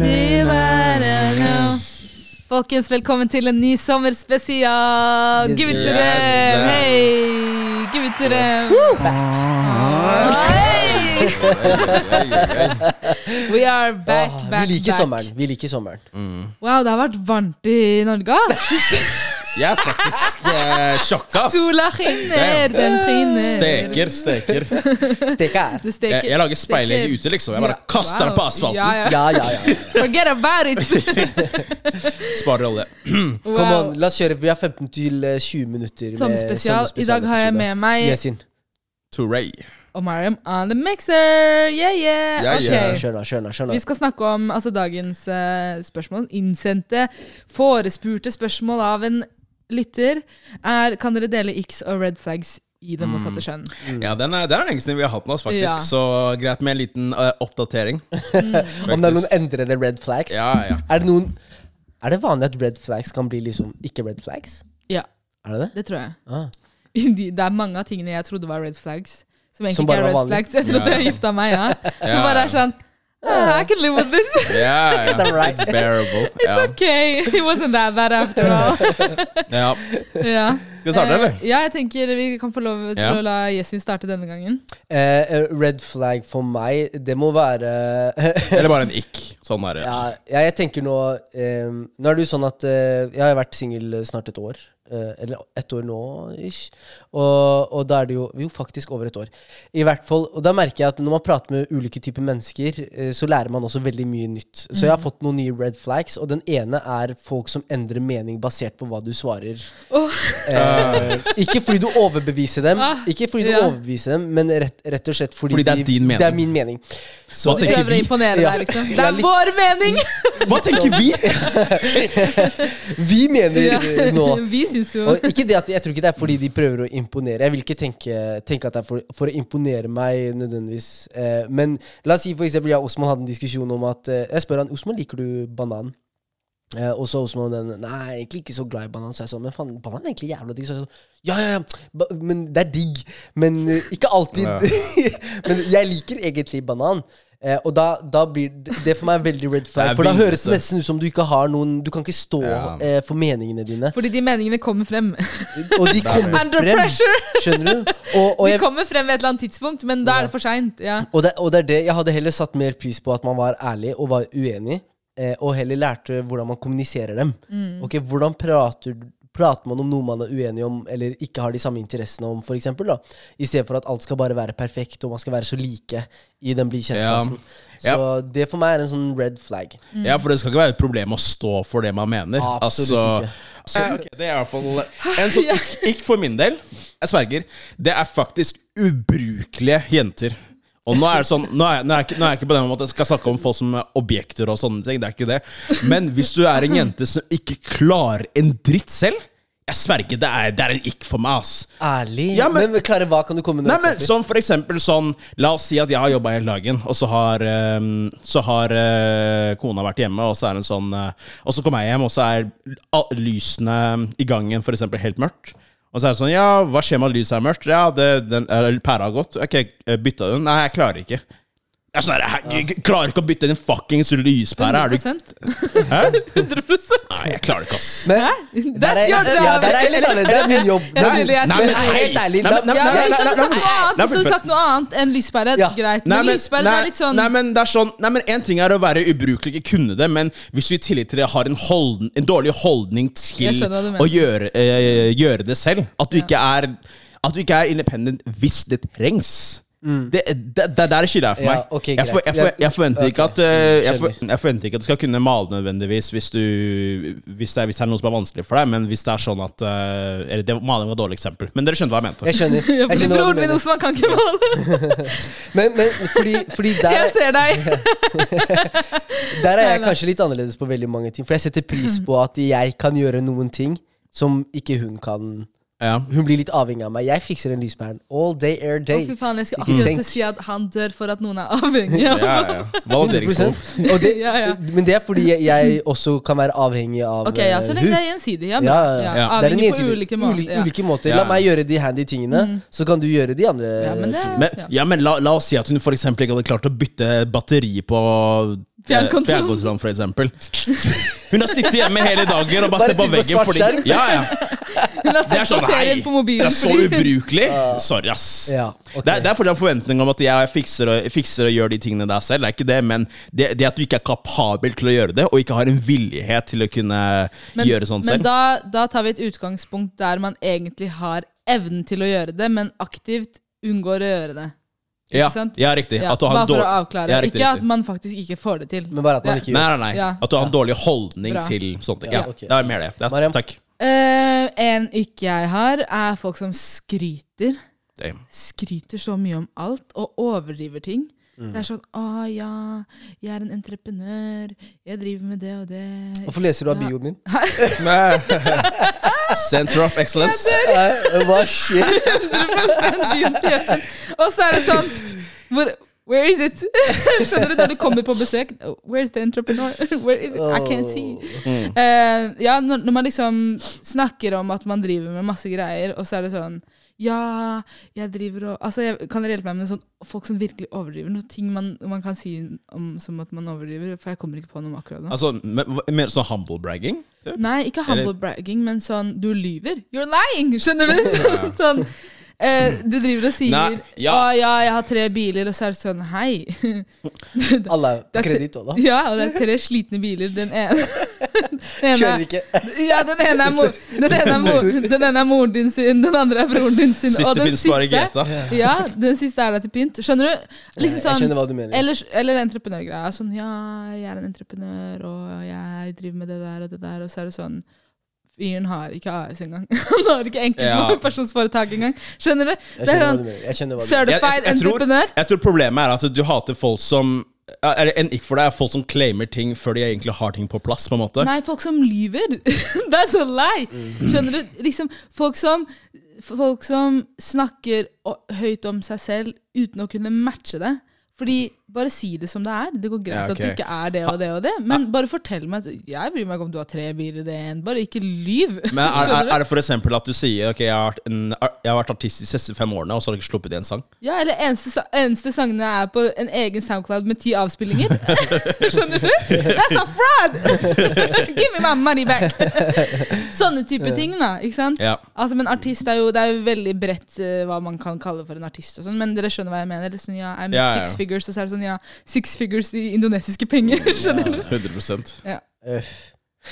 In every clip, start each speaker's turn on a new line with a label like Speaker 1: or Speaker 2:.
Speaker 1: Vi bare nå. Folkens, velkommen til en ny sommerspesial!
Speaker 2: Yes,
Speaker 1: Give it to
Speaker 2: yes.
Speaker 1: them! Hey! Give it to them! Hey! We are back,
Speaker 2: Åh,
Speaker 1: back,
Speaker 2: Ah, vi liker
Speaker 1: back.
Speaker 2: sommeren. Vi liker sommeren.
Speaker 1: Wow, det har vært varmt i Norge, ass!
Speaker 3: Jeg er faktisk eh, sjokka. ass.
Speaker 1: Sola
Speaker 3: Damn.
Speaker 1: skinner, den skinner.
Speaker 3: Steker, steker.
Speaker 2: Steka er.
Speaker 1: Det steker.
Speaker 3: Jeg, jeg lager speilegg
Speaker 1: steker.
Speaker 3: ute, liksom. Jeg bare
Speaker 1: Ja.
Speaker 3: kaster den på
Speaker 1: Wow.
Speaker 3: asfalten.
Speaker 1: Ja, ja.
Speaker 2: Ja, ja, ja.
Speaker 1: Forget about it!
Speaker 3: Sparer olje.
Speaker 1: Wow.
Speaker 2: Kom on, la oss kjøre. Vi har 15 til eh, 20 minutter. med
Speaker 1: Sommerspesial. I dag har jeg
Speaker 2: sommerspesialepisode.
Speaker 1: med meg
Speaker 2: Yesin.
Speaker 3: Touray.
Speaker 1: Og Mariam on the mixer! Yeah, yeah!
Speaker 3: Yeah,
Speaker 1: Ok.
Speaker 3: yeah.
Speaker 2: Kjør nå, kjør nå. kjør nå.
Speaker 1: Vi skal snakke om altså, dagens eh, spørsmål. Innsendte, forespurte spørsmål av en lytter er Kan dere dele X og red flags i det
Speaker 3: Mm.
Speaker 1: motsatte kjønn?
Speaker 3: Ja, den er, det er den lengste vi har hatt med oss, faktisk.
Speaker 1: Mm. Ja.
Speaker 3: Så greit med en liten eh, oppdatering.
Speaker 2: Om det er noen endrede red flags?
Speaker 3: Ja, ja.
Speaker 2: Er det noen Er det vanlig at red flags kan bli liksom ikke red flags?
Speaker 1: Ja,
Speaker 2: Er det det?
Speaker 1: det tror jeg.
Speaker 2: Ah.
Speaker 1: De- Det er mange av tingene jeg trodde var red flags, som egentlig
Speaker 2: Som
Speaker 1: ikke
Speaker 2: bare
Speaker 1: er red
Speaker 2: var vanlig.
Speaker 1: flags etter at
Speaker 3: Ja.
Speaker 1: jeg gifta meg. ja. Som
Speaker 3: Ja.
Speaker 1: bare er sånn ah, I can live with this.
Speaker 3: Ja, ja.
Speaker 2: that right?
Speaker 3: It's bearable. Ja.
Speaker 1: It's okay. It wasn't that bad after all.
Speaker 3: Ja.
Speaker 1: Ja.
Speaker 3: Skal vi starte, eller?
Speaker 1: Eh, Ja, jeg tenker vi kan få lov til
Speaker 3: Ja.
Speaker 1: å la Jessin starte denne gangen.
Speaker 2: Eh, eh, red flag for meg, det må være
Speaker 3: Eller bare en ikk. Sånn er det.
Speaker 2: Ja, ja, jeg tenker nå eh, Nå er det jo sånn at eh, jeg har vært singel snart et år. eh, eller ett år nå, ish. Og, og da er det jo Jo, faktisk over et år. I hvert fall, Og da merker jeg at når man prater med ulike typer mennesker, eh, så lærer man også veldig mye nytt. Så jeg
Speaker 1: Mm.
Speaker 2: har fått noen nye red flags, og den ene er folk som endrer mening basert på hva du svarer. Eh, ikke fordi du overbeviser dem,
Speaker 1: Ah,
Speaker 2: Ikke fordi du
Speaker 1: ja.
Speaker 2: overbeviser dem men rett, rett og slett fordi,
Speaker 3: Fordi det er
Speaker 2: de-
Speaker 3: din mening.
Speaker 2: Det er min mening.
Speaker 3: Hva
Speaker 2: Ikke
Speaker 1: Prøver
Speaker 3: tenker
Speaker 1: å
Speaker 3: vi?
Speaker 1: imponere
Speaker 2: Ja.
Speaker 1: deg, liksom.
Speaker 2: Jeg
Speaker 1: Det
Speaker 2: er
Speaker 1: er
Speaker 2: litt-
Speaker 1: vår mening!
Speaker 3: Hva tenker vi?
Speaker 2: Vi mener eh, nå
Speaker 1: Vi syns jo
Speaker 2: Og ikke det at, jeg tror ikke det er fordi de prøver å imponere. Jeg vil ikke tenke, tenke at det er for, for å imponere meg nødvendigvis. Eh, men la oss si for eksempel jeg og Osman hadde en diskusjon om at eh, Jeg spør han Osman liker du banan. Eh, og så Osman den Nei, jeg er egentlig ikke så glad i banan. Så jeg sånn, men faen, banan er egentlig jævla digg. Så jeg sånn, ja, ja, ja, ba, men det er digg. Men eh, ikke alltid. men jeg liker egentlig banan. Eh, og da, da blir det det for meg er veldig red flag.
Speaker 3: Det er
Speaker 2: For da høres det
Speaker 3: villeste.
Speaker 2: nesten ut som du ikke har noen Du kan ikke stå
Speaker 3: Ja.
Speaker 2: eh, for meningene dine.
Speaker 1: Fordi de meningene kommer frem.
Speaker 2: Og de kommer
Speaker 1: Under
Speaker 2: frem.
Speaker 1: pressure!
Speaker 2: Skjønner du? Og, og,
Speaker 1: De
Speaker 2: jeg,
Speaker 1: kommer frem ved et eller annet tidspunkt, men da er det for seint. Ja.
Speaker 2: og, det, og det er det jeg hadde heller satt mer pris på, at man var ærlig og var uenig, eh, og heller lærte hvordan man kommuniserer dem.
Speaker 1: Mm.
Speaker 2: Ok, Hvordan prater, prater man om noe man er uenig om, eller ikke har de samme interessene om, for eksempel, da I stedet for at alt skal bare være perfekt, og man skal være så like i den bli kjent-fasen.
Speaker 3: Ja.
Speaker 2: Så det for meg er en sånn red flag.
Speaker 3: Ja, for det skal ikke være et problem å stå for det man mener.
Speaker 2: Absolutt ikke.
Speaker 3: altså, eh, ok, det er i hvert fall En sånn ikk, ikk for min del, jeg sverger, det er faktisk ubrukelige jenter. Og nå er det sånn Nå er, jeg- nå er, jeg, ikke- nå er jeg ikke på den måten at jeg skal snakke om folk som er objekter og sånne ting, det er ikke det. Men hvis du er en jente som ikke klarer en dritt selv, jeg sverger, det er, det er en ikk for meg, ass.
Speaker 2: Ærlig.
Speaker 3: Ja,
Speaker 2: men,
Speaker 3: men-
Speaker 2: Klare, hva kan du komme med?
Speaker 3: Nei, men Som for eksempel sånn La oss si at jeg har jobba hele dagen, og så har, ehm, så har eh, kona vært hjemme, og så er hun sånn eh, Og så kommer jeg hjem, og så er all- lysene i gangen for eksempel helt mørkt. Og så er det sånn Ja, hva skjer med at lyset er mørkt? Ja, det, den, eller pæra har gått. Ok, eh, bytta du den? Nei, jeg klarer ikke. Jeg er sånn, her, jeg, jeg klarer ikke å bytte den fuckings lyspæra. Er du
Speaker 1: 100%.
Speaker 3: Hæ?
Speaker 1: 100%.
Speaker 3: Nei, jeg klarer ikke, ass.
Speaker 2: Men- Der
Speaker 1: That's
Speaker 2: er,
Speaker 1: your
Speaker 2: ja,
Speaker 1: job!
Speaker 2: der er jeg litt ærlig. Det er min jobb. Det er min,
Speaker 1: Nei,
Speaker 2: men
Speaker 1: men-
Speaker 2: helt ærlig,
Speaker 3: Nei, men-
Speaker 2: da-
Speaker 1: Ja,
Speaker 3: Nei,
Speaker 1: hvis du
Speaker 3: nei,
Speaker 1: hadde
Speaker 3: nei,
Speaker 1: sagt noe
Speaker 3: nei, nei,
Speaker 1: annet, hvis du hadde
Speaker 3: fullfør.
Speaker 1: sagt noe annet enn lyspære,
Speaker 2: Ja.
Speaker 1: greit. Men lyspære det
Speaker 3: nei,
Speaker 1: er litt sånn
Speaker 3: nei, men det er sånn Nei, men en ting er å være ubrukelig, ikke kunne det, men hvis du i tillegg til det har en, holden, en dårlig holdning
Speaker 1: Jeg
Speaker 3: til
Speaker 1: skjønner hva du mener.
Speaker 3: å gjøre, eh, gjøre det selv At du ikke er At du ikke er independent hvis det trengs. Det, det, det er der skiller jeg for
Speaker 2: Mm. Ja,
Speaker 3: meg.
Speaker 2: ok,
Speaker 3: jeg, for,
Speaker 2: greit.
Speaker 3: jeg, for, jeg forventer ikke at eh, jeg, for,
Speaker 2: skjønner.
Speaker 3: jeg forventer ikke at du skal kunne male nødvendigvis hvis, du, hvis, det er, hvis det er noe som er vanskelig for deg, men hvis det er sånn at eh, Eller det, maling var et dårlig eksempel, men dere skjønte hva jeg mente.
Speaker 2: Jeg skjønner. Jeg skjønner hva
Speaker 1: Broren
Speaker 2: du
Speaker 1: min
Speaker 2: mener.
Speaker 1: Osman kan ikke male.
Speaker 2: Men, men fordi, fordi der,
Speaker 1: Jeg ser deg.
Speaker 2: der er jeg
Speaker 1: Nei, nei.
Speaker 2: kanskje litt annerledes på veldig mange ting. For jeg setter pris på at jeg kan gjøre noen ting som ikke hun kan.
Speaker 3: Ja.
Speaker 2: Hun blir litt avhengig av meg. Jeg fikser den lyspæren all day, air
Speaker 1: Å,
Speaker 2: day.
Speaker 1: fy faen, jeg skulle
Speaker 2: Ikke
Speaker 1: akkurat
Speaker 2: tenk.
Speaker 1: til å si at han dør for at noen er avhengig av
Speaker 3: Ja, ja. Valideringsbehov.
Speaker 2: 100%. Og det,
Speaker 1: Ja, ja.
Speaker 2: Men det er fordi jeg, jeg også kan være avhengig av
Speaker 1: Ok, ja,
Speaker 2: eh,
Speaker 1: så
Speaker 2: hun.
Speaker 1: lenge det er gjensidig. Ja, bra.
Speaker 2: Ja, ja,
Speaker 1: Ja,
Speaker 2: ja. Det er en
Speaker 1: avhengig på
Speaker 2: ensidig-
Speaker 1: ulike måter.
Speaker 2: uli-
Speaker 1: Ja. Mm.
Speaker 2: ulike måter.
Speaker 3: Ja.
Speaker 2: La meg gjøre de handy tingene, så kan du gjøre de andre.
Speaker 1: Ja, men det,
Speaker 3: Men,
Speaker 1: ja.
Speaker 3: ja, men la, la oss si at hun for eksempel ikke hadde klart å bytte batteri på
Speaker 1: Fjernkontrollen.
Speaker 3: Eh, Fjernkontrollen, for eksempel. Hun har sittet hjemme hele dagen og bare
Speaker 2: Bare
Speaker 3: sett på
Speaker 2: sitter på
Speaker 3: veggen.
Speaker 2: svart
Speaker 3: Fordi,
Speaker 2: skjerm.
Speaker 3: ja, ja.
Speaker 1: Hun har
Speaker 3: Det er
Speaker 1: sett
Speaker 3: sånn,
Speaker 1: på
Speaker 3: hei,
Speaker 1: serien på
Speaker 3: det
Speaker 1: mobilen.
Speaker 3: er så
Speaker 1: fordi-
Speaker 3: ubrukelig. Sorry, ass.
Speaker 2: Ja, ok.
Speaker 3: Det er, det er fordi jeg har forventning om at jeg fikser og, fikser og gjør de tingene der selv. Det er ikke det, men det, det at du ikke er kapabel til å gjøre det, og ikke har en villighet til å kunne gjøre sånt
Speaker 1: men
Speaker 3: selv.
Speaker 1: da, da tar vi et utgangspunkt der man egentlig har evnen til å gjøre det, men aktivt unngår å gjøre det. ikke
Speaker 3: ja,
Speaker 1: sant?
Speaker 3: ja, riktig.
Speaker 1: Ja,
Speaker 3: At du har
Speaker 1: bare
Speaker 3: en
Speaker 1: for
Speaker 3: dårlig
Speaker 1: å avklare.
Speaker 3: Ja, riktig,
Speaker 1: ikke at
Speaker 3: riktig.
Speaker 1: man faktisk ikke får det til.
Speaker 2: Men bare at man
Speaker 1: Ja.
Speaker 2: ikke
Speaker 3: Nei, nei,
Speaker 2: gjør
Speaker 3: nei.
Speaker 1: Ja.
Speaker 3: At du har en dårlig holdning
Speaker 1: Bra.
Speaker 3: til sånne ting.
Speaker 2: Ja,
Speaker 3: Ja,
Speaker 2: ok.
Speaker 3: Det er mer det. det er,
Speaker 2: Mariam?
Speaker 3: takk.
Speaker 1: Eh, en ikke jeg har, er folk som skryter.
Speaker 3: Damn.
Speaker 1: Skryter så mye om alt og overdriver ting. Det er sånn 'Å ja, jeg er en entreprenør. Jeg driver med det og det.'
Speaker 2: Hvorfor leser du av bioen min?
Speaker 3: Center of excellence.
Speaker 2: Nei, Hva skjer?
Speaker 1: 100% din tese. Og så er det sånn hvor, Where is it? Skjønner du, når du kommer på besøk oh, Where's the entrepreneur? Where is it? I can't see. Eh, ja, når, når man liksom snakker om at man driver med masse greier, og så er det sånn ja, jeg driver og Altså, jeg, Kan dere hjelpe meg med sånn folk som virkelig overdriver? Noen ting man, man kan si om som at man overdriver, for jeg kommer ikke på noe akkurat nå.
Speaker 3: Altså, me- mer sånn humble bragging? typ?
Speaker 1: Nei, ikke humble bragging, men sånn du lyver. You're lying! Skjønner du? Sånn, sånn eh, Du driver og sier
Speaker 3: Nei, ja.
Speaker 1: 'Å ja, jeg har tre biler', og så er det sånn 'hei'.
Speaker 2: Alle
Speaker 1: Det
Speaker 2: er på
Speaker 1: er tre-
Speaker 2: kreditt, Ola.
Speaker 1: Ja, og det er tre slitne biler. Den ene, den ene,
Speaker 2: Kjører ikke.
Speaker 1: ja, den ene, er, mor, den, ene er mor,
Speaker 2: Motor.
Speaker 1: den ene er moren din sin, den andre er broren din sin.
Speaker 3: Siste
Speaker 1: og den
Speaker 3: finnes bare i GTA.
Speaker 1: Ja, den siste er da til pynt. Skjønner du? Liksom
Speaker 2: Jeg skjønner
Speaker 1: sånn,
Speaker 2: hva du mener.
Speaker 1: eller, eller entreprenørgreia. Sånn ja, jeg er en entreprenør, og jeg driver med det der og det der, og så er det sånn Fyren har ikke AS engang. Han har ikke enkeltpersonsforetak engang. Skjønner du?
Speaker 2: Jeg
Speaker 1: Det er sånn
Speaker 2: skjønner hva du mener. Jeg skjønner
Speaker 3: Jeg,
Speaker 2: hva du mener.
Speaker 3: jeg,
Speaker 1: certified
Speaker 3: jeg, tror,
Speaker 1: entreprenør.
Speaker 3: jeg tror problemet er at du hater folk som eller En ikke for deg er folk som claimer ting før de egentlig har ting på plass. på en måte
Speaker 1: Nei, folk som lyver. det er så lei!
Speaker 3: Mm.
Speaker 1: Skjønner du? Liksom, folk som, folk som snakker o- høyt om seg selv uten å kunne matche det. Fordi Bare si det som det er. Det går greit
Speaker 3: Ja, ok.
Speaker 1: at du ikke er det og det og det, men bare fortell meg Jeg bryr meg ikke om du har tre biler eller én, bare ikke lyv.
Speaker 3: Men er, er,
Speaker 1: Skjønner du?
Speaker 3: er det for eksempel at du sier Ok, jeg har vært, en, jeg har vært artist de siste fem årene, og så har jeg ikke sluppet en sang?
Speaker 1: Ja, eller eneste, sa- eneste sangene er på en egen SoundCloud med ti avspillinger. Skjønner du? That's a fraud! Give me my money back! Sånne type ting, da. ikke sant?
Speaker 3: Ja.
Speaker 1: Altså, men artist er jo, det er jo veldig bredt eh, hva man kan kalle for en artist. og sånn, Men dere skjønner hva jeg mener. Det er sånn, ja, I'm
Speaker 3: Ja, ja.
Speaker 1: six figures, og så er det sånn, ja, six figures i indonesiske penger. skjønner du?
Speaker 3: 100
Speaker 1: Ja.
Speaker 2: Øff.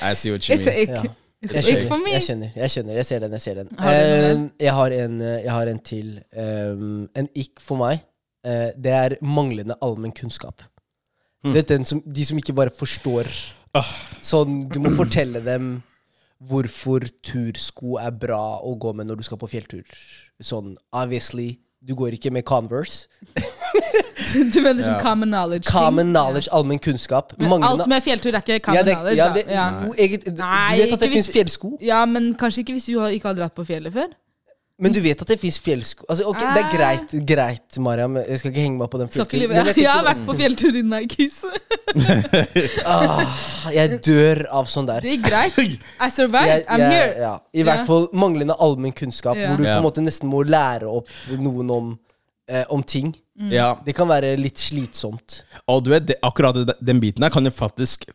Speaker 3: I see what you
Speaker 1: It's
Speaker 3: mean.
Speaker 1: ikke
Speaker 2: Ja.
Speaker 1: it's
Speaker 2: Jeg
Speaker 1: ikke for
Speaker 2: skjønner,
Speaker 1: me.
Speaker 2: jeg skjønner, jeg skjønner. Jeg ser den, jeg ser den.
Speaker 1: Har du noe
Speaker 2: Eh, Jeg har en, eh, jeg har en til. Um, en ikk for meg. eh, Det er manglende allmennkunnskap. Du vet den som, de som ikke bare forstår Sånn, du må fortelle dem hvorfor tursko er bra å gå med når du skal på fjelltur. Sånn, obviously, du går ikke med Converse.
Speaker 1: Du mener som
Speaker 3: Ja.
Speaker 1: sånn common knowledge. ting.
Speaker 2: Common knowledge, allmenn kunnskap.
Speaker 1: Men alt
Speaker 2: Manglende
Speaker 1: med fjelltur er ikke common
Speaker 2: ja, det,
Speaker 1: knowledge.
Speaker 2: ja,
Speaker 1: da.
Speaker 2: det,
Speaker 1: ja.
Speaker 2: jo, eget, du
Speaker 1: Nei,
Speaker 2: vet at det
Speaker 1: ikke hvis-
Speaker 2: fins fjellsko?
Speaker 1: Ja, men kanskje ikke hvis du har- ikke har dratt på fjellet før.
Speaker 2: Men du vet at det fins fjellsko altså, ok, Det er
Speaker 1: Ah.
Speaker 2: greit, greit, Mariam. Jeg skal ikke henge meg på den
Speaker 1: Skal ikke lyve.
Speaker 2: fjellturen. Men jeg,
Speaker 1: Jeg har
Speaker 2: tenker,
Speaker 1: vært på fjelltur i Nikes.
Speaker 2: ah, jeg dør av sånn der.
Speaker 1: Det gikk greit. I survived.
Speaker 2: Jeg,
Speaker 1: I'm
Speaker 2: jeg,
Speaker 1: here.
Speaker 2: ja. I hvert
Speaker 1: Ja.
Speaker 2: fall manglende allmennkunnskap,
Speaker 1: Ja.
Speaker 2: hvor du på
Speaker 3: Ja.
Speaker 2: en måte nesten må lære opp noen om, eh, om ting.
Speaker 3: Ja.
Speaker 2: Det kan være litt slitsomt.
Speaker 3: Og du vet, det, akkurat det- den biten her kan jo faktisk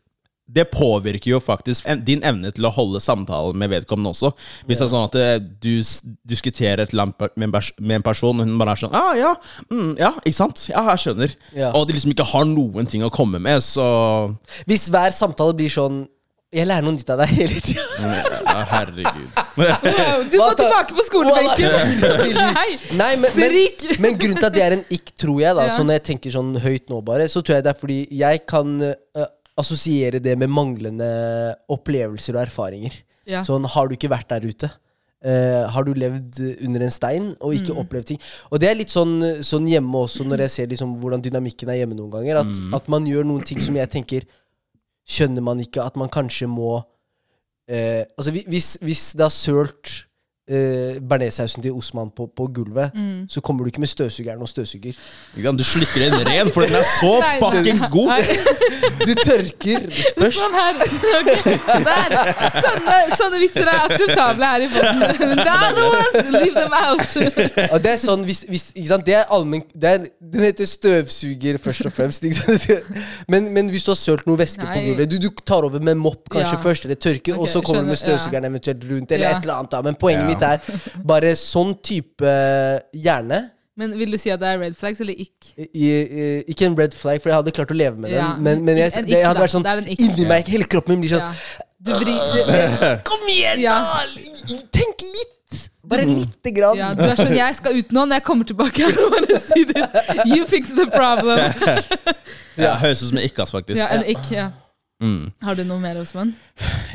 Speaker 3: det påvirker jo faktisk en- din evne til å holde samtalen med vedkommende også. Hvis det er sånn at eh, du s- diskuterer et eller annet per- med en, pers med en person, og hun bare er sånn ah, ja, mm, ja, ikke sant? Ja, jeg skjønner.
Speaker 2: Ja.
Speaker 3: Og de liksom ikke har noen ting å komme med, så
Speaker 2: Hvis hver samtale blir sånn Jeg lærer noe nytt av deg hele tida.
Speaker 3: ja, Herregud.
Speaker 1: Wow, du må
Speaker 2: Hva da?
Speaker 1: tilbake på skolebenken. Hei.
Speaker 2: Nei, men, men,
Speaker 1: Stryk!
Speaker 2: men grunnen til at det er en ikk, tror jeg, da
Speaker 1: Ja.
Speaker 2: Så når jeg tenker sånn høyt nå bare, så tror jeg det er fordi jeg kan eh, assosiere det med manglende opplevelser og erfaringer.
Speaker 1: Ja.
Speaker 2: Sånn, har du ikke vært der ute? Eh, har du levd under en stein og ikke opplevd ting? Og det er litt sånn, sånn hjemme også, når jeg ser liksom hvordan dynamikken er hjemme noen ganger. At, at man gjør noen ting som jeg tenker Skjønner man ikke at man kanskje må Eh, altså hvi- hvis, hvis det har sølt eh, bearnéssausen til Osman på, på gulvet, så kommer du ikke med støvsugeren og støvsuger.
Speaker 3: Ikke sant, Du slikker den ren, for den er så
Speaker 1: Nei,
Speaker 3: fuckings god!
Speaker 1: Nei,
Speaker 2: Du tørker først.
Speaker 1: sånn her. Ok, Der. Sånne, sånne vitser er akseptable her i poden. The other ones, leave them out.
Speaker 2: Og det er sånn, hvis, hvis, ikke sant? Det er allmenn det er, Den heter støvsuger, først og fremst. Ikke sant? Men, men hvis du har sølt noe væske på
Speaker 1: Nei.
Speaker 2: gulvet Du, du tar over med mopp kanskje
Speaker 1: Ja.
Speaker 2: først, eller tørker, og
Speaker 1: Ok,
Speaker 2: så kommer du
Speaker 1: skjønner,
Speaker 2: med
Speaker 1: ja.
Speaker 2: støvsugeren eventuelt rundt, eller
Speaker 1: Ja.
Speaker 2: et eller annet. da Men poenget
Speaker 3: Ja.
Speaker 2: mitt er bare sånn type eh, hjerne
Speaker 1: Men vil du si at det er red flags eller ikke?
Speaker 2: i, i, Ikke en red flag, for jeg hadde klart å leve med den,
Speaker 1: Ja.
Speaker 2: men, men jeg,
Speaker 1: En
Speaker 2: det
Speaker 1: ikk,
Speaker 2: hadde
Speaker 1: da.
Speaker 2: vært sånn
Speaker 1: Det er en ikk.
Speaker 2: inni meg, hele kroppen min blir sånn
Speaker 1: Ja. Du vrir det, det,
Speaker 2: Kom igjen,
Speaker 1: Ja.
Speaker 2: da! Tenk litt! Bare lite grann.
Speaker 1: ja, Du er sånn 'jeg skal ut nå, når jeg kommer tilbake her og bare si this'. You fix the problem.
Speaker 3: Ja, Høres ut som en ikkas, faktisk.
Speaker 1: Ja, en ikke, ja. Har du noe mer, Osman?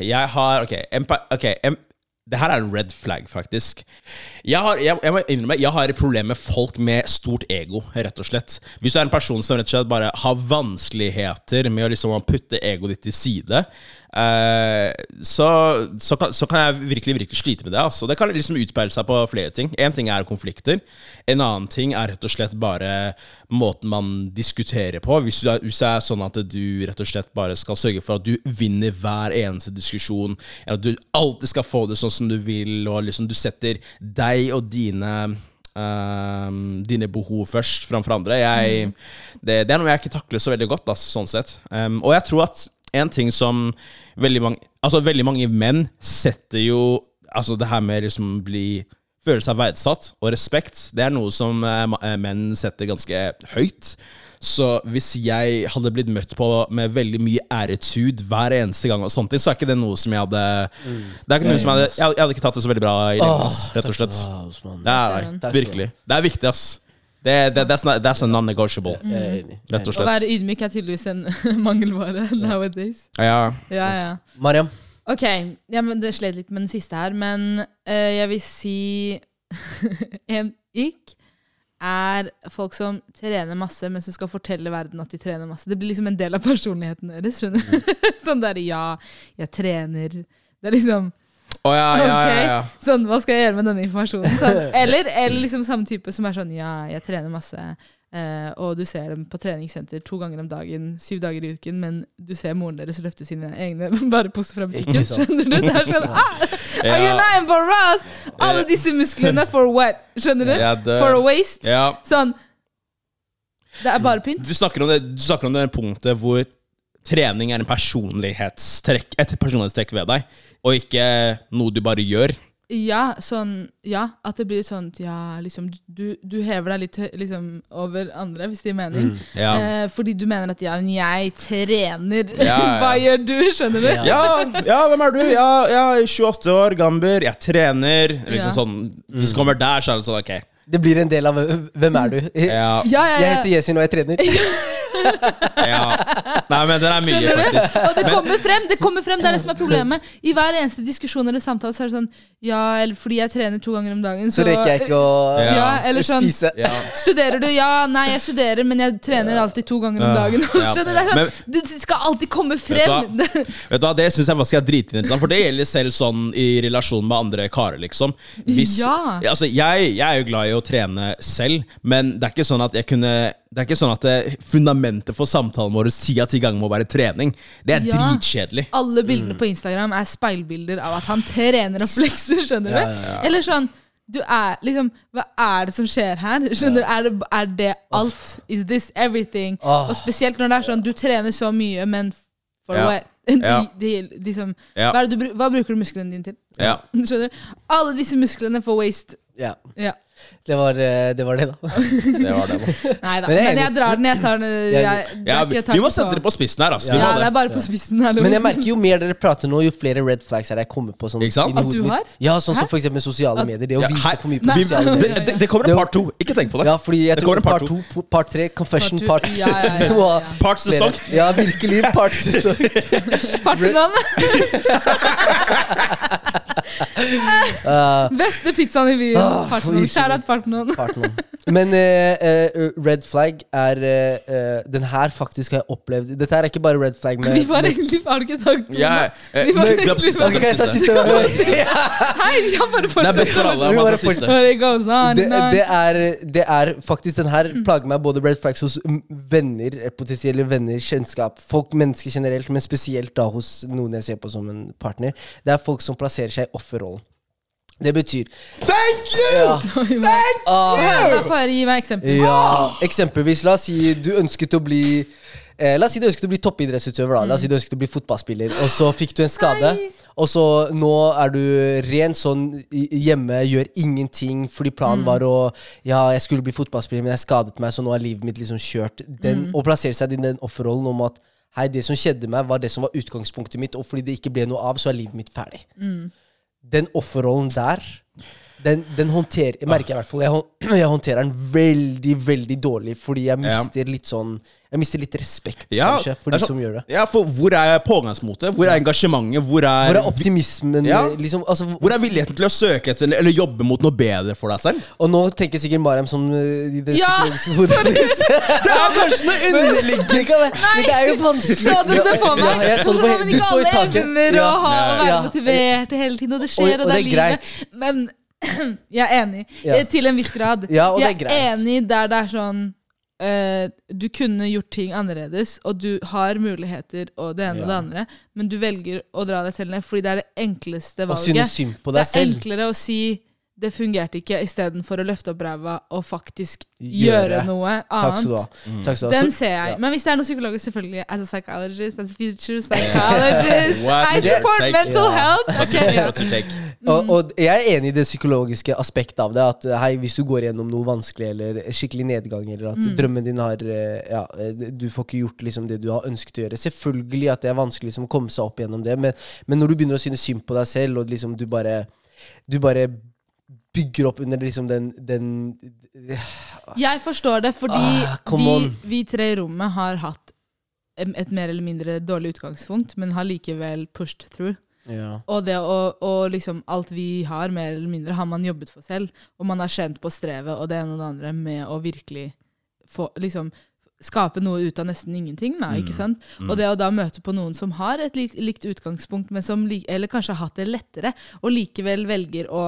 Speaker 3: Jeg har Ok, en, pa- ok, en, det her er en red flag, faktisk. Jeg, har, jeg, jeg må innrømme Jeg har et problem med folk med stort ego, rett og slett. Hvis du er en person som rett og slett bare har vanskeligheter med å liksom putte egoet ditt til side, eh, så, så, kan, så kan jeg virkelig virkelig slite med det. Altså. Det kan liksom utpeile seg på flere ting. Én ting er konflikter. En annen ting er rett og slett bare måten man diskuterer på. Hvis det er, hvis det er sånn at du rett og slett bare skal sørge for at du vinner hver eneste diskusjon, eller at du alltid skal få det sånn som du vil, og liksom du setter deg og dine ehm, dine behov først framfor andre. Jeg, det, det er noe jeg ikke takler så veldig godt, ass, sånn sett. Ehm, og jeg tror at en ting som veldig mange, altså veldig mange menn setter jo Altså det her med liksom bli Føle seg verdsatt og respekt, det er noe som eh, ma- eh, menn setter ganske høyt. Så hvis jeg hadde blitt møtt på med veldig mye æretud hver eneste gang, og sånne ting, så er ikke det noe som jeg hadde Det er ikke noe som Jeg hadde, jeg, jeg hadde ikke tatt det så veldig bra i lengden, ass, rett og slett.
Speaker 2: Ah, Osman.
Speaker 3: Nei,
Speaker 1: Søren.
Speaker 3: nei, virkelig. Det er viktig, ass. Det, det, that's, not, that's a non-negotiable,
Speaker 2: Jeg er enig.
Speaker 3: rett og
Speaker 1: Å
Speaker 3: slett.
Speaker 1: være ydmyk er tydeligvis en mangelvare nowadays.
Speaker 3: Ja.
Speaker 1: Ja, ja.
Speaker 2: Mariam.
Speaker 1: Ok, ja, men du slet litt med den siste her, men eh, jeg vil si En ikk er folk som trener masse, men som skal fortelle verden at de trener masse. Det blir liksom en del av personligheten deres. skjønner du? sånn der, ja, jeg trener. Det er liksom
Speaker 3: Å ja, ja, ja, ja.
Speaker 1: Ok, sånn, hva skal jeg gjøre med denne informasjonen? Sånn. Eller, eller liksom samme type som er sånn, ja, jeg trener masse, eh, og du ser dem på treningssenter to ganger om dagen, syv dager i uken, men du ser moren deres løfte sine egne vareposer fra butikken.
Speaker 2: Ikke sant.
Speaker 1: Skjønner du? Det er sånn, ah, are
Speaker 3: Ja.
Speaker 1: you not embarrassed? Alle disse musklene for what? Skjønner du?
Speaker 3: Jeg dør.
Speaker 1: For a waste?
Speaker 3: ja.
Speaker 1: Sånn, det er bare pynt.
Speaker 3: Du snakker om det, du snakker om det punktet hvor trening er en personlighetstrekk, et personlighetstrekk ved deg, og ikke noe du bare gjør.
Speaker 1: Ja, sånn, ja, at det blir sånn ja, liksom, du, du hever deg litt hø- liksom, over andre, hvis det gir mening.
Speaker 3: Ja.
Speaker 1: Eh, fordi du mener at ja, men jeg trener.
Speaker 3: Ja, ja.
Speaker 1: Hva gjør du? Skjønner du?
Speaker 2: Ja.
Speaker 3: Ja, ja, hvem er du? Ja, ja, 28 år, gamber, jeg trener. Liksom
Speaker 1: Ja.
Speaker 3: sånn, Hvis du kommer der, så er det sånn, ok.
Speaker 2: Det blir en del av eh, Hvem er du?
Speaker 3: Ja,
Speaker 1: Ja, ja,
Speaker 2: Jeg
Speaker 1: ja.
Speaker 2: heter Yesin, og jeg trener.
Speaker 3: ja. Nei, men den er mye,
Speaker 1: Skjønner du?
Speaker 3: faktisk.
Speaker 1: Og det kommer frem! Det kommer frem, det er det som er problemet. I hver eneste diskusjon eller samtale så er det sånn Ja, eller fordi jeg trener to ganger om dagen, så
Speaker 2: Så rekker jeg ikke å
Speaker 1: ja.
Speaker 3: Ja,
Speaker 1: eller sånn
Speaker 2: spise.
Speaker 3: Ja.
Speaker 1: Studerer du? Ja, nei, jeg studerer, men jeg trener alltid to ganger om
Speaker 3: Ja.
Speaker 1: dagen.
Speaker 3: Ja.
Speaker 1: Skjønner du? Det er sånn, du skal alltid komme frem!
Speaker 3: Vet Vet du hva, Det syns jeg faktisk er dritinteressant, liksom. for det gjelder selv sånn i relasjon med andre karer. liksom Hvis,
Speaker 1: Ja.
Speaker 3: altså, jeg, jeg er jo glad i å trene selv, men det er ikke sånn at jeg kunne Det er ikke sånn at eh, fundamentet for samtalen vår sida til gang må være trening. Det er
Speaker 1: Ja.
Speaker 3: dritkjedelig.
Speaker 1: Alle
Speaker 2: Mm.
Speaker 1: bildene på Instagram er speilbilder av at han trener opp lekser, skjønner du? Eller sånn du er liksom, Hva er det som skjer her? Skjønner du, Er det, er det alt? Is this everything?
Speaker 2: Åh.
Speaker 1: Og spesielt når det er sånn, du trener så mye, men for
Speaker 3: Ja.
Speaker 1: what? De,
Speaker 3: Ja.
Speaker 1: de, liksom,
Speaker 3: Ja.
Speaker 1: hva, er det du, bru- hva bruker du musklene dine til?
Speaker 3: Ja.
Speaker 1: Skjønner du? Alle disse musklene for waste.
Speaker 2: Ja,
Speaker 1: Ja.
Speaker 2: det var eh, det, var det da.
Speaker 3: Det var det. man.
Speaker 1: Nei da.
Speaker 2: Men jeg er
Speaker 1: Men jeg
Speaker 2: enig.
Speaker 1: drar den. Jeg tar den. Jeg, det er
Speaker 3: Ja,
Speaker 1: ikke-
Speaker 3: vi,
Speaker 1: jeg tar
Speaker 3: vi må
Speaker 1: ikke
Speaker 3: sette det på spissen her. ass. Vi
Speaker 1: Ja,
Speaker 3: må
Speaker 1: det er
Speaker 3: det.
Speaker 1: bare på spissen. her,
Speaker 2: Men jeg
Speaker 1: Lovis.
Speaker 2: merker jo mer dere prater nå, jo flere red flags er det jeg kommer på. Sånn,
Speaker 3: Ikke sant?
Speaker 2: inni
Speaker 1: At du
Speaker 2: hodet mitt.
Speaker 1: har?
Speaker 2: Ja, sånn som for eksempel med sosiale medier. Det å
Speaker 3: Ja,
Speaker 2: vise
Speaker 3: her-
Speaker 2: for mye på
Speaker 1: Nei.
Speaker 2: sosiale
Speaker 1: Vi-
Speaker 2: medier.
Speaker 3: Det, det, det kommer en part to. Ikke tenk på det.
Speaker 2: Ja, fordi jeg
Speaker 3: Det
Speaker 2: tror
Speaker 3: kommer en
Speaker 2: part
Speaker 3: part
Speaker 2: to, po- part tre, confession
Speaker 1: Part
Speaker 2: part
Speaker 1: two. Ja, ja, ja,
Speaker 2: Du må ha
Speaker 1: ja.
Speaker 3: Parts
Speaker 2: flere-
Speaker 3: sesong.
Speaker 2: Ja, virkelig. Part sesong.
Speaker 1: Farten av Beste pizzaen i byen.
Speaker 2: Ah,
Speaker 1: Partenon.
Speaker 2: virkelig. Ah,
Speaker 1: Skjær av Partenon.
Speaker 2: Part noen. Men eh, eh, red flag er eh, eh, Den her faktisk har jeg opplevd. Dette her er ikke bare red flag. Med,
Speaker 1: Vi var egentlig Har du ikke sagt noe?
Speaker 3: Ja, eh,
Speaker 1: Vi var
Speaker 3: men-
Speaker 1: egentlig-
Speaker 3: Døp siste,
Speaker 2: Ok,
Speaker 3: døp
Speaker 2: jeg tar
Speaker 3: siste.
Speaker 2: siste.
Speaker 1: Hei, jeg
Speaker 3: Det er
Speaker 1: bare
Speaker 3: best for
Speaker 1: fortsetter.
Speaker 3: alle.
Speaker 2: Vi
Speaker 3: om
Speaker 2: bare
Speaker 3: han tar siste.
Speaker 1: Where it goes on
Speaker 2: Det,
Speaker 1: and on.
Speaker 2: det, er, det er faktisk Den her plager meg både red flags hos mm, venner, eh, potensielle venner, kjennskap, folk, mennesker generelt, men spesielt da hos noen jeg ser på som en partner. Det er folk som plasserer seg i offerrollen. Det betyr
Speaker 3: Thank you!
Speaker 2: ja,
Speaker 1: Oi, men-
Speaker 2: ah,
Speaker 1: Ja, da får jeg gi meg eksempel.
Speaker 2: Ja, eksempelvis, la oss si du ønsket å bli eh, La oss si du ønsket å bli toppidrettsutøver. Da. La oss si du ønsket å bli fotballspiller, og så fikk du en skade.
Speaker 1: Nei.
Speaker 2: Og så nå er du ren sånn i- hjemme, gjør ingenting, fordi planen var å Ja, jeg skulle bli fotballspiller, men jeg skadet meg, så nå er livet mitt liksom kjørt. Den, Og plassere seg i den offerrollen om at Hei, det som skjedde meg, var det som var utgangspunktet mitt, og fordi det ikke ble noe av, så er livet mitt ferdig. Den offerrollen der den, den håndterer jeg merker jeg i hvert fall. Jeg, hå- jeg håndterer den veldig, veldig dårlig, fordi
Speaker 3: Ja.
Speaker 2: jeg mister litt sånn Jeg mister litt respekt,
Speaker 3: Ja,
Speaker 2: kanskje, for
Speaker 3: det er
Speaker 2: de
Speaker 3: sånn-
Speaker 2: som gjør det.
Speaker 3: Ja, for hvor er pågangsmotet? Hvor er engasjementet? Hvor er,
Speaker 2: Hvor er optimismen?
Speaker 3: Ja.
Speaker 2: Liksom, altså,
Speaker 3: hvor er villigheten til å søke etter eller jobbe mot noe bedre for deg selv?
Speaker 2: og nå tenker sikkert Mariam som øh, i det
Speaker 1: Ja,
Speaker 2: psykologiske hodet.
Speaker 3: Det er kanskje noe underlig
Speaker 2: Det kan være- Men det er jo vanskelig.
Speaker 1: Så du det på
Speaker 2: Ja,
Speaker 1: meg?
Speaker 2: jeg så det på
Speaker 1: Hvordan
Speaker 2: he-
Speaker 1: man
Speaker 2: du
Speaker 1: ikke
Speaker 2: så i
Speaker 1: alle
Speaker 2: taket.
Speaker 1: evner å
Speaker 2: Ja.
Speaker 1: ha å være
Speaker 2: Ja.
Speaker 1: motivert E hele tiden, og det
Speaker 2: Og-
Speaker 1: skjer, og,
Speaker 2: og
Speaker 1: det er
Speaker 2: det er
Speaker 1: livet. Men jeg er enig.
Speaker 2: Ja.
Speaker 1: Eh, Til en viss grad.
Speaker 2: Ja, og det
Speaker 1: jeg
Speaker 2: er greit.
Speaker 1: enig der det er sånn eh, Du kunne gjort ting annerledes, og du har muligheter og det ene og det andre, men du velger å dra deg selv ned fordi det er det enkleste
Speaker 2: Og
Speaker 1: valget.
Speaker 2: synes synd på
Speaker 1: Det
Speaker 2: deg
Speaker 1: er
Speaker 2: selv.
Speaker 1: enklere å si det fungerte ikke, istedenfor å løfte opp ræva og faktisk gjøre,
Speaker 2: Gjøre.
Speaker 1: noe annet.
Speaker 2: Takk skal du ha. Takk skal du ha.
Speaker 1: Den
Speaker 2: Så-
Speaker 1: ser jeg.
Speaker 2: ja.
Speaker 1: Men hvis det er noen psykologer, selvfølgelig. As a psychologist, as a future psychologist. I support
Speaker 3: Psych-
Speaker 1: mental
Speaker 2: Ja.
Speaker 1: health.
Speaker 3: What's
Speaker 1: Ok,
Speaker 3: your-
Speaker 1: ja.
Speaker 3: what's your take?
Speaker 2: Og, og jeg er enig i det psykologiske aspektet av det. At eh, hei, hvis du går gjennom noe vanskelig eller skikkelig nedgang, eller at drømmen din har eh, ja, eh, Du får ikke gjort liksom, det du har ønsket å gjøre. Selvfølgelig at det er vanskelig liksom, å komme seg opp gjennom det, men, men når du begynner å synes synd på deg selv, og liksom, du bare, du bare bygger opp under liksom, den, den
Speaker 1: Jeg forstår det, fordi
Speaker 2: Ah, come
Speaker 1: vi,
Speaker 2: on.
Speaker 1: vi tre i rommet har hatt em- et mer eller mindre dårlig utgangspunkt, men har likevel pushed through. Og det å, og liksom alt vi har, mer eller mindre, har man jobbet for selv. Og man har kjent på strevet og det ene og det andre med å virkelig få liksom Skape noe ut av nesten ingenting. Da,
Speaker 2: Mm.
Speaker 1: ikke sant? Og det å da møte på noen som har et likt, likt utgangspunkt, men som li, eller kanskje har hatt det lettere, og likevel velger å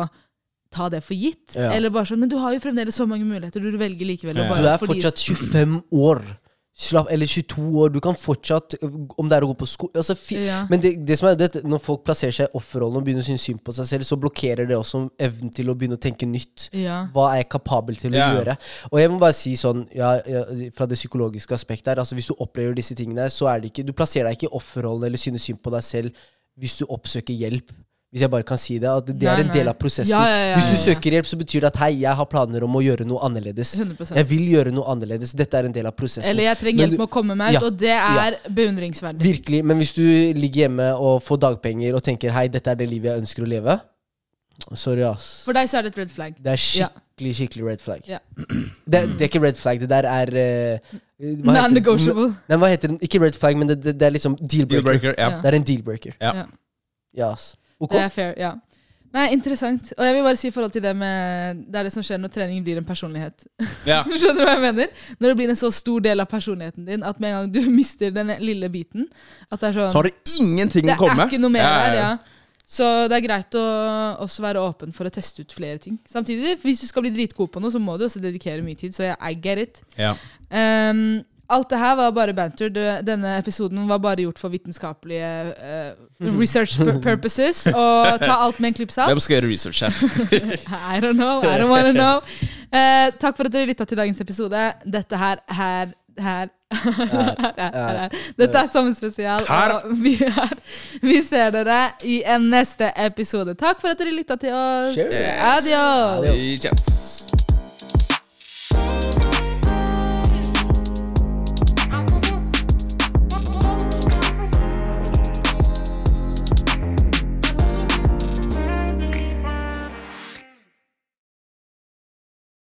Speaker 1: ta det for gitt.
Speaker 2: Ja.
Speaker 1: Eller bare sånn Men du har jo fremdeles så mange muligheter, du velger likevel å
Speaker 3: Ja.
Speaker 1: bare
Speaker 2: Du er
Speaker 1: fordi-
Speaker 2: fortsatt 25 år. Slapp, eller 22 år. Du kan fortsatt, ø, om det er å gå på sko altså, fi,
Speaker 1: Ja.
Speaker 2: Men det, det som er det, når folk plasserer seg i offerrollen og begynner å synes synd på seg selv, så blokkerer det også evnen til å begynne å tenke nytt.
Speaker 1: Ja.
Speaker 2: Hva er jeg kapabel til å
Speaker 3: Ja.
Speaker 2: gjøre? Og jeg må bare si sånn, ja, ja, fra det psykologiske aspektet her, altså hvis du opplever disse tingene, så er det ikke Du plasserer deg ikke i offerrollen eller synes synd på deg selv hvis du oppsøker hjelp. Hvis jeg bare kan si det. At det
Speaker 1: Nei,
Speaker 2: er en
Speaker 1: nei.
Speaker 2: del av prosessen.
Speaker 1: Ja, ja, ja,
Speaker 2: Hvis du
Speaker 1: ja, ja.
Speaker 2: søker hjelp, så betyr det at hei, jeg har planer om å gjøre noe annerledes.
Speaker 1: 100%.
Speaker 2: Jeg vil gjøre noe annerledes. Dette er en del av prosessen.
Speaker 1: Eller jeg trenger
Speaker 2: Men
Speaker 1: hjelp
Speaker 2: du-
Speaker 1: med å komme meg ut,
Speaker 2: Ja.
Speaker 1: og det
Speaker 2: Ja.
Speaker 1: er beundringsverdig.
Speaker 2: Virkelig, men hvis du ligger hjemme og får dagpenger og tenker hei, dette er det livet jeg ønsker å leve Sorry, ass.
Speaker 1: For deg så er det et red flag.
Speaker 2: Det er
Speaker 1: Ja.
Speaker 2: skikkelig skikkelig red flag.
Speaker 1: Ja.
Speaker 2: Det, det er ikke red flag, det der er eh, hva heter det?
Speaker 1: Non-negotiable.
Speaker 2: Nei, hva heter den? Ikke red flag, men det, det, det er liksom deal-breaker.
Speaker 3: Dealbreaker, ja.
Speaker 1: Ja.
Speaker 2: Det er en deal-breaker.
Speaker 3: Ja.
Speaker 1: Ja.
Speaker 2: Ja, ass. Ok?
Speaker 1: Det er fair, ja. Nei, interessant. Og jeg vil bare si i forhold til det med Det er det som skjer når trening blir en personlighet.
Speaker 3: ja.
Speaker 1: Skjønner du hva jeg mener? Når det blir en så stor del av personligheten din at med en gang du mister den lille biten At det er sånn
Speaker 3: Så har det ingenting
Speaker 1: Det
Speaker 3: å komme
Speaker 1: er ikke noe mer
Speaker 3: Ja, ja,
Speaker 1: der,
Speaker 3: ja.
Speaker 1: ja. Så det er greit å også være åpen for å teste ut flere ting. Samtidig, hvis du skal bli dritgod på noe, så må du også dedikere mye tid. Så jeg, I get it.
Speaker 3: Ja.
Speaker 1: Ehm, alt det her var bare banter. Du- Denne episoden var bare gjort for vitenskapelige eh, research pur- purposes. Og ta alt med en klype salt.
Speaker 3: Hvem skal gjøre research her?
Speaker 1: I don't know, I don't wanna know. Eh, takk for at dere lytta til dagens episode. Dette her, her, her her, her, her, her. Dette er sommerspesial,
Speaker 3: Her.
Speaker 1: og vi, er, vi ser dere i en neste episode. Takk for at dere lytta til oss.
Speaker 2: Cheers.
Speaker 1: Adios.
Speaker 3: Vi kjennes.